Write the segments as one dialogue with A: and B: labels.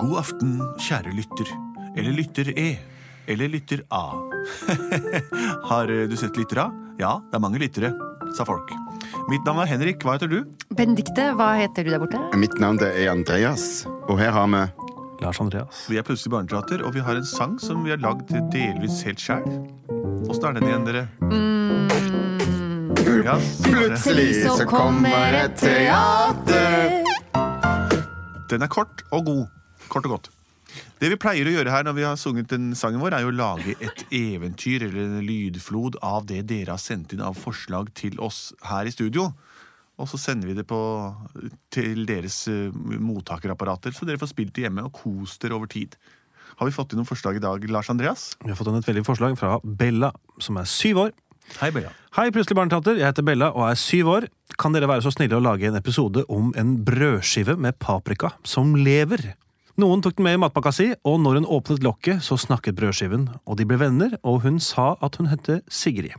A: God aften, kjære lytter. Eller lytter E. Eller lytter A. Har eh, du sett lyttere? Ja, det er mange lyttere, sa folk. Mitt navn er Henrik. Hva heter du?
B: Benedikte, hva heter du der borte?
C: Mitt navn det er Andreas, og her har vi
D: Lars Andreas.
A: Vi er Plutselig barneteater, og vi har en sang som vi har lagd delvis helt sjæl. Åssen er den igjen, dere? Ja, Sindre.
C: Plutselig så kommer et teater.
A: den er kort og god. Kort og godt. Det vi pleier å gjøre her når vi har sunget den sangen vår, er jo å lage et eventyr eller en lydflod av det dere har sendt inn av forslag til oss her i studio. Og så sender vi det på, til deres eh, mottakerapparater, så dere får spilt det hjemme og kost dere over tid. Har vi fått inn noen forslag i dag, Lars Andreas?
D: Vi har fått inn et veldig forslag fra Bella, som er syv år.
A: Hei, Bea.
D: Hei, plutselig barneteater. Jeg heter Bella og er syv år. Kan dere være så snille å lage en episode om en brødskive med paprika som lever? Noen tok den med i matpakka si, og når hun åpnet lokket, så snakket brødskiven, og de ble venner, og hun sa at hun het Sigrid.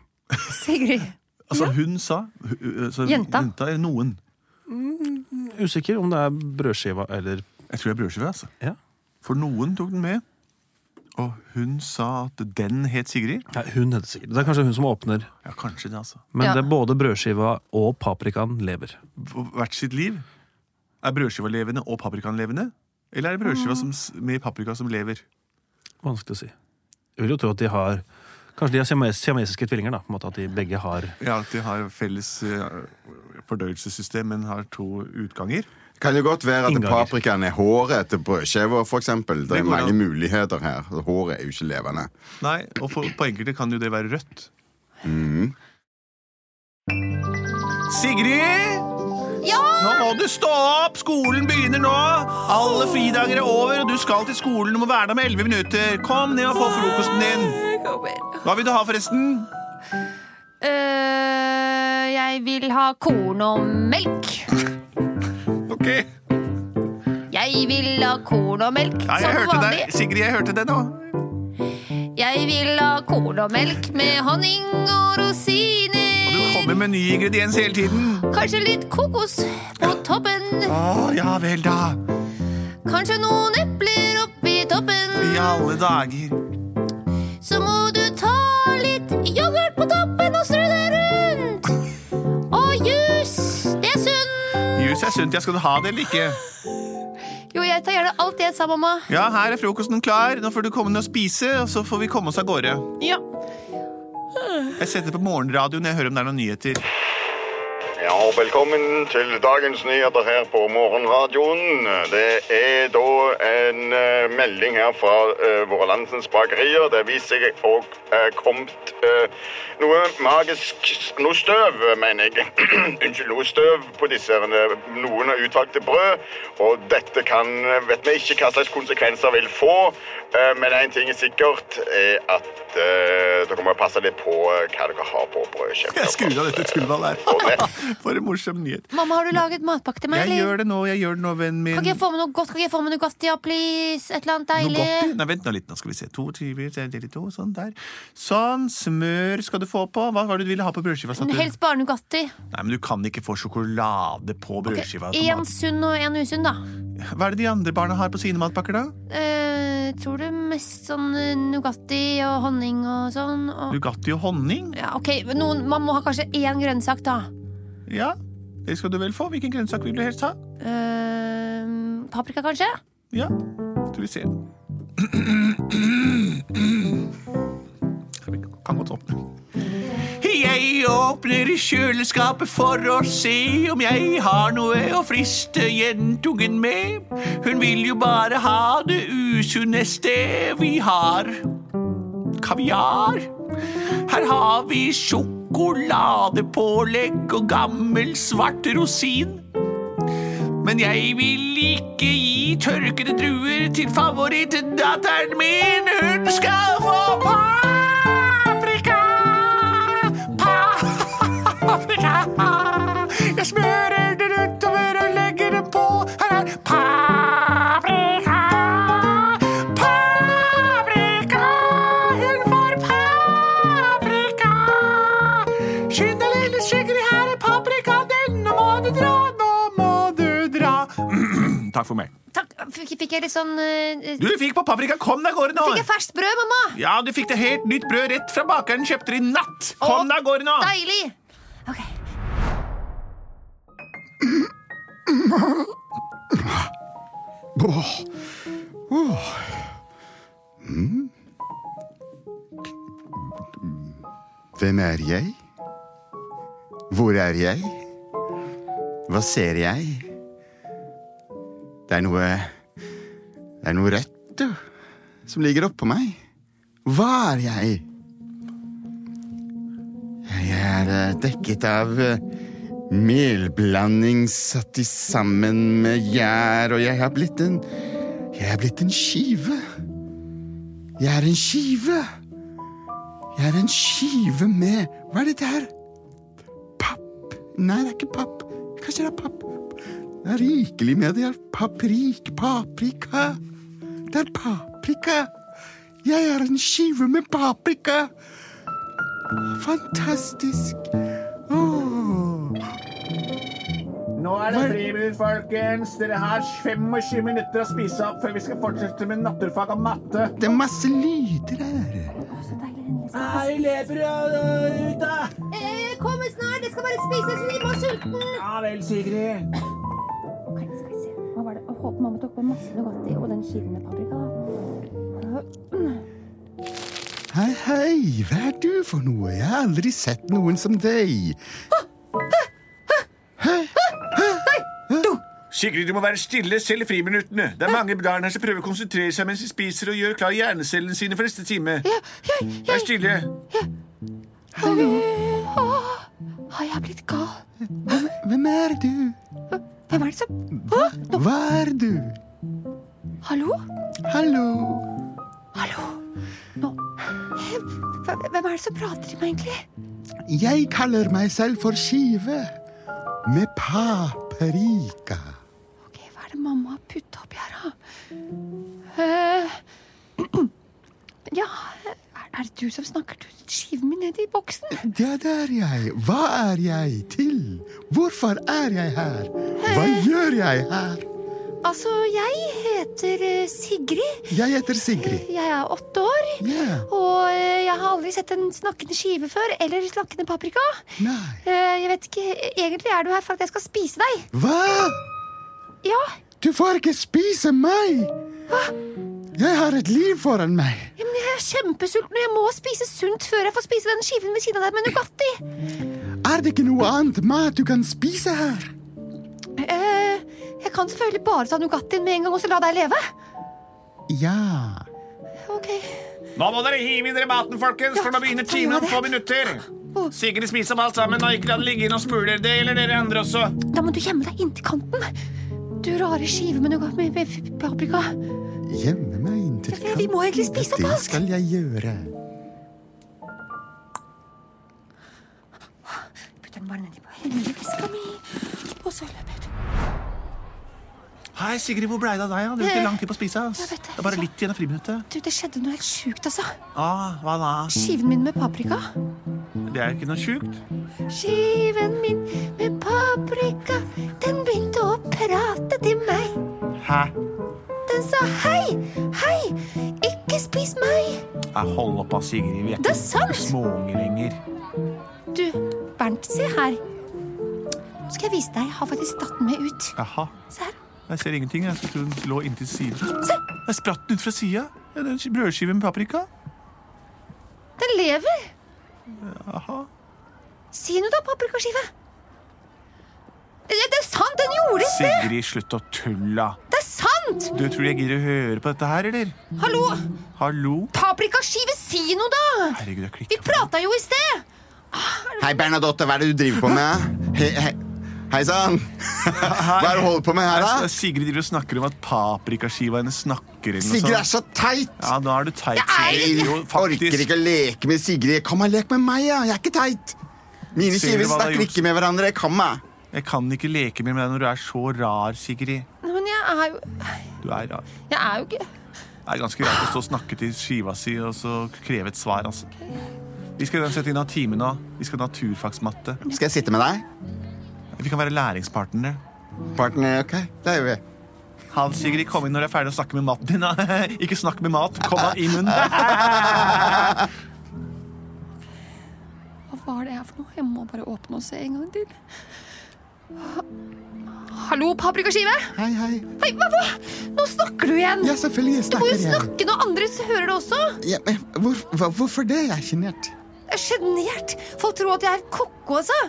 B: Sigrid.
A: Altså, hun sa hu- hu- altså,
B: Jenta.
A: jenta eller noen.
D: Usikker om det er brødskiva eller
A: Jeg tror det er brødskive. Altså.
D: Ja.
A: For noen tok den med, og hun sa at den het Sigrid.
D: Nei, hun heter Sigrid. Det er kanskje hun som åpner.
A: Ja, kanskje det, altså.
D: Men
B: Ja.
D: det er både brødskiva og paprikaen lever.
A: På hvert sitt liv. Er brødskiva levende og paprikaen levende? Eller er det brødskiva som, s- med paprika som lever?
D: Vanskelig å si. Jeg vil jo tro at de har Kanskje de er siames- siamesiske tvillinger, da. På en måte at de begge har
A: Ja, at de har felles eh, fordøyelsessystem, men har to utganger.
C: Kan det godt være at
D: Innganger.
C: paprikaen er håret til brødskiva, for eksempel. Det er
A: Det går
C: mange
A: an.
C: muligheter her. Håret er jo ikke levende.
A: Nei, og for, på enkelte kan jo det være rødt. Sigrid! Nå må du stå opp! Skolen begynner nå! Alle fridager er over, og du skal til skolen. Du må være der med 11 minutter. Kom ned og få frokosten din. Hva vil du ha, forresten?
B: Eh, jeg vil ha korn og melk.
A: Ok. Nei,
B: Jeg vil ha korn og melk
A: jeg
B: som
A: hørte
B: vanlig.
A: deg. Sigrid, jeg hørte deg nå.
B: Jeg vil ha korn og melk med honning og rosiner.
A: Du kommer med ny ingrediens hele tiden.
B: Kanskje litt kokos på toppen.
A: Å, ja vel, da.
B: Kanskje noen epler oppi toppen.
A: I alle dager.
B: Så må du ta litt yoghurt på toppen og strø det rundt. Og juice. Det er sunt.
A: Jus er sunt. Jeg skal du ha det eller ikke?
B: Jo, jeg tar gjerne alt det, sa mamma.
A: Ja, her er frokosten klar. Nå får du komme ned og spise, og så får vi komme oss av gårde.
B: Ja.
A: Jeg setter på morgenradioen når jeg hører om det er noen nyheter.
E: Ja, og velkommen til dagens nyheter her på Morgenradioen. Det er da en eh, melding her fra eh, våre landsens bakerier. Det viser seg å uh, kommet eh, noe magisk s- Noe støv, mener jeg. Unnskyld, noe støv på disse her, eh, noen av utvalgte brød. Og dette kan eh, Vet vi ikke hva slags konsekvenser vil få, eh, men én ting er sikkert, er at eh, dere må passe litt på eh, hva dere har på brødskiva.
A: Jeg skrur av dette skulderballet her. For en morsom nyhet.
B: Mamma, har du laget matpakke til meg?
A: Jeg
B: eller?
A: gjør det nå, jeg gjør det nå, vennen min.
B: Kan ikke jeg få med noe godt? Kan ikke jeg få med Nugatti, ja, please? Et eller annet deilig?
A: Nugatti? Nei, vent nå litt, nå skal vi se. To tyver, det er delt i to, sånn der. Sånn, smør skal du få på. Hva var det du ville ha på brødskiva? sa du?
B: Helst bare Nugatti.
A: Nei, men du kan ikke få sjokolade på brødskiva. som
B: Én sunn og én usunn, da.
A: mat. Hva er det de andre barna har på sine matpakker, da?
B: Eh, tror du mest sånn eh, Nugatti og honning og sånn? Og...
A: Nugatti og honning?
B: Ja, ok, men noen, Man må ha kanskje én grønnsak, da.
A: Ja, det skal du vel få. Hvilken grønnsak vil du helst ha?
B: Eh, paprika, kanskje?
A: Ja, skal vi se. Vi Kan godt åpne. Jeg åpner kjøleskapet for å se om jeg har noe å friste jentungen med. Hun vil jo bare ha det usunneste vi har. Kaviar. Her har vi sjokoladepålegg og gammel svart rosin. Men jeg vil ikke gi tørkede druer til favorittdatteren min. Hun skal få paprika! Paprika! Jeg smører den utover og legger den på. Her er paprika! Paprika! Hun får paprika! Skynd deg, lille Sigrid, her er paprikaen din. Nå må du dra, nå må du dra. Takk for meg.
B: Takk. Fikk, fikk jeg litt sånn eh,
A: Du fikk på paprika! Kom deg av gårde
B: Fikk jeg
A: nå!
B: ferskt brød, mamma?
A: Ja, du fikk det helt nytt brød rett fra bakeren kjøpte det i natt! Kom deg av gårde nå!
B: Deilig! Ok.
C: Åh. Åh. Hmm? Mm. Hvem er jeg? Hvor er jeg? Hva ser jeg? Det er noe Det er noe rødt, du, som ligger oppå meg. Hva er jeg? Jeg er eh, dekket av eh, melblanding satt i sammen med gjær, og jeg har blitt en Jeg er blitt en skive. Jeg er en skive. Jeg er en skive med Hva er dette her? Papp? Nei, det er ikke papp. Kanskje det er papp. Det er rikelig med det. Paprik, paprika. Det er paprika. Jeg er en skive med paprika. Fantastisk. Åh.
F: Nå er det friminutt, folkens. Dere har 25 minutter å spise opp før vi skal fortsette med naturfag og matte.
C: Det er masse lyder her.
F: Hei, elever øh, ut, da!
B: Eh, Kom snart, jeg skal bare spise, så jeg var sulten.
F: Ja vel, Sigrid.
G: Ok, skal vi se. Hva var det? Jeg håper mamma tok på masse Nugatti og den skiven med paprika.
C: Hei, hei, hva er du for noe? Jeg har aldri sett noen som deg.
A: Sigrid, du må være stille selv i friminuttene. Det er mange barn her som prøver å konsentrere seg mens de spiser og gjør klar hjernecellene sine for neste time.
C: Mm,
A: Vær stille.
G: Har jeg blitt gal?
C: Hvem er du?
G: Hvem er det som
C: Hva er du?
G: Hallo?
C: Hallo?
G: Hallo? Nå Hvem hvem er det som prater til meg, egentlig?
C: Jeg kaller meg selv for Skive. Med paprika.
G: Ok, hva er det mamma har putta oppi her, da? Eh, ja, er, er det du som snakker? Du skyver meg ned i boksen.
C: Ja, det er jeg. Hva er jeg til? Hvorfor er jeg her? Hva gjør jeg her?
G: Altså, jeg heter eh, Sigrid.
C: Jeg heter Sigrid.
G: Jeg er åtte år.
C: Ja,
G: Og eh, jeg har aldri sett en snakkende skive før, eller snakkende paprika.
C: nei.
G: Eh, jeg vet ikke, Egentlig er du her for at jeg skal spise deg.
C: Hva?
G: Ja,
C: Du får ikke spise meg! Jeg har et liv foran meg.
G: ja, men jeg er kjempesulten, og jeg må spise sunt før jeg får spise den skiven ved siden av deg med Nugatti.
C: Er det ikke noe annet mat du kan spise her?
G: Eh, jeg kan selvfølgelig bare ta Nugattien med en gang og så la deg leve.
C: Ja.
G: Ok.
A: Nå må dere hive i dere maten, folkens, for nå begynner timen om få minutter. Sigrid, spis opp alt sammen og ikke la det ligge inn og smuler. Det gjelder dere andre også.
G: Da må du gjemme deg inntil kanten. Du rare skive med nougat med med paprika.
C: Gjemme meg inntil
G: Ja, vi må egentlig spise opp
C: Det
G: alt.
C: skal jeg gjøre.
G: Putt den bare nedi hendevriska mi, og så løper jeg ut.
A: Hei, Sigrid, hvor blei det av deg? ja? Det er ikke lang tid på å spise. ass.
G: Jeg vet det.
A: Eh, Det er bare litt igjen av friminuttet.
G: Du, det skjedde noe helt sjukt, altså.
A: Ah, hva da?
G: Skiven min med paprika.
A: Det er ikke noe sjukt.
G: Skiven min med paprika, den begynte å prate til meg.
A: Hæ?
G: Den sa hei, hei, ikke spis meg.
A: Ja, Hold opp, da, Sigrid. Vi er ikke
G: Det er sant.
A: småunger lenger.
G: Du, Bernt, se her. Nå skal jeg vise deg. Jeg har faktisk tatt den med ut.
A: Jaha.
G: Se her.
A: Jeg ser ingenting. Jeg trodde hun lå inntil siden. Der spratt den ut fra sida. Brødskive med paprika.
G: Den lever!
A: Aha.
G: Si noe, da, paprikaskive. Det, det er sant! Den gjorde det!
A: Sigrid, slutt å tulle.
G: Det er sant!
A: Du tror jeg gidder å høre på dette her, eller?
G: Hallo!
A: Hallo?
G: Paprikaskive, si noe, da!
A: Herregud, jeg
G: Vi
A: klikker.
G: prata jo i sted!
C: Hei, Bernadotte, hva er det du driver på med? Hei, hei. Hei sann! Hva er det du holder på med her,
A: Nei,
C: da?
A: Sigrid driver og snakker om at paprikaskiva hennes snakker eller noe
C: Sigrid er
A: sånt.
C: så teit!
A: Ja, da er du teit, Sigrid.
C: Jeg
A: Jo,
C: orker
A: faktisk.
C: ikke å leke med Sigrid. Kom og lek med meg, ja. Jeg er ikke teit. Mine
A: Sigrid,
C: skiver
A: hva har du
C: snakker
A: gjort?
C: ikke med hverandre. Kom, da.
A: Jeg kan ikke leke mer med deg når du er så rar, Sigrid.
G: Men jeg er jo
A: Du er rar.
G: Jeg er jo ikke
A: Det er ganske rart å stå og snakke til skiva si og så kreve et svar, altså. Vi skal uansett inn av timen nå. Vi skal ha naturfagsmatte.
C: Skal jeg sitte med deg?
A: Vi kan være læringspartnere.
C: Partner, ok. Det gjør vi.
A: Hans Sigrid, kom inn når du er ferdig å snakke med maten din. da. Ikke snakk med mat. Kom deg i munnen.
G: Hva var det her for noe? Jeg må bare åpne og se en gang til. Hallo, paprikaskive!
C: Hei, hei.
G: Hei, hva, hva? Nå snakker du igjen!
C: Ja, selvfølgelig
G: du må
C: snakker
G: jo
C: jeg.
G: snakke når andre hører det også!
C: Ja, men hvor, hva, hvorfor det? Jeg er sjenert.
G: Jeg er sjenert! Folk tror at jeg er ko-ko, altså!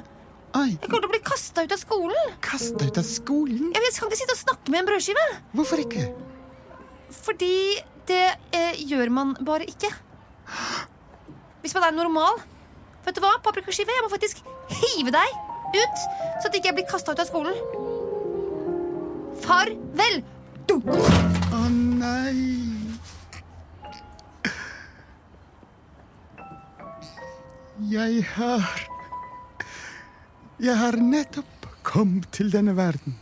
C: Ai,
G: Jeg kommer til å bli kasta ut av skolen!
C: kasta ut av skolen.
G: Jeg vet, jeg kan ikke sitte og snakke med en brødskive!
C: Hvorfor ikke?
G: Fordi det eh, gjør man bare ikke. Hvis man er normal. Vet du hva, paprikaskive, jeg må faktisk hive deg ut, så at ikke jeg blir kasta ut av skolen. Farvel! Dunk!
C: Å nei. Jeg har Jeg har nettopp kommet til denne verden.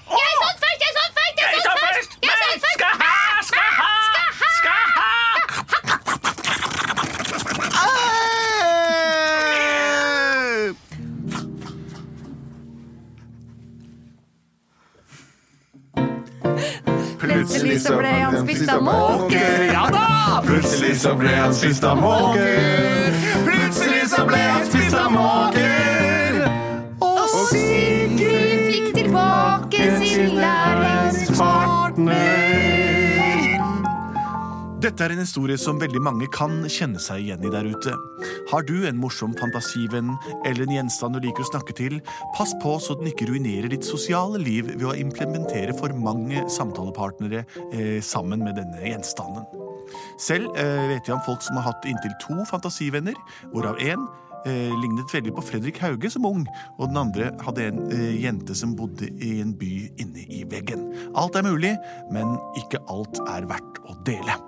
B: Jeg sånn først! Jeg sånn først! Jeg sånn først! Jeg sånn først!
G: Plutselig så ble han spist av måker. Ja da!
A: Plutselig så ble han spist av måker. Plutselig så ble han spist av måker.
G: Og Sigrid fikk tilbake sin læringspartner.
A: Dette er en historie som veldig mange kan kjenne seg igjen i der ute. Har du en morsom fantasivenn eller en gjenstand du liker å snakke til, pass på så den ikke ruinerer ditt sosiale liv ved å implementere for mange samtalepartnere eh, sammen med denne gjenstanden. Selv eh, vet jeg om folk som har hatt inntil to fantasivenner, hvorav én eh, lignet veldig på Fredrik Hauge som ung, og den andre hadde en eh, jente som bodde i en by inne i veggen. Alt er mulig, men ikke alt er verdt å dele.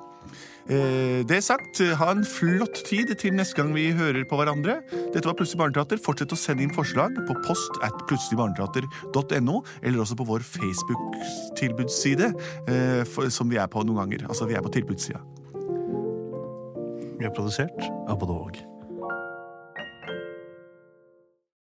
A: Eh, det sagt, ha en flott tid til neste gang vi hører på hverandre. Dette var Plutselig barneteater. Fortsett å sende inn forslag på post at plutseligbarneteater.no, eller også på vår Facebook-tilbudsside, eh, for- som vi er på noen ganger. Altså, vi er på tilbudssida.
D: Vi er produsert av både og.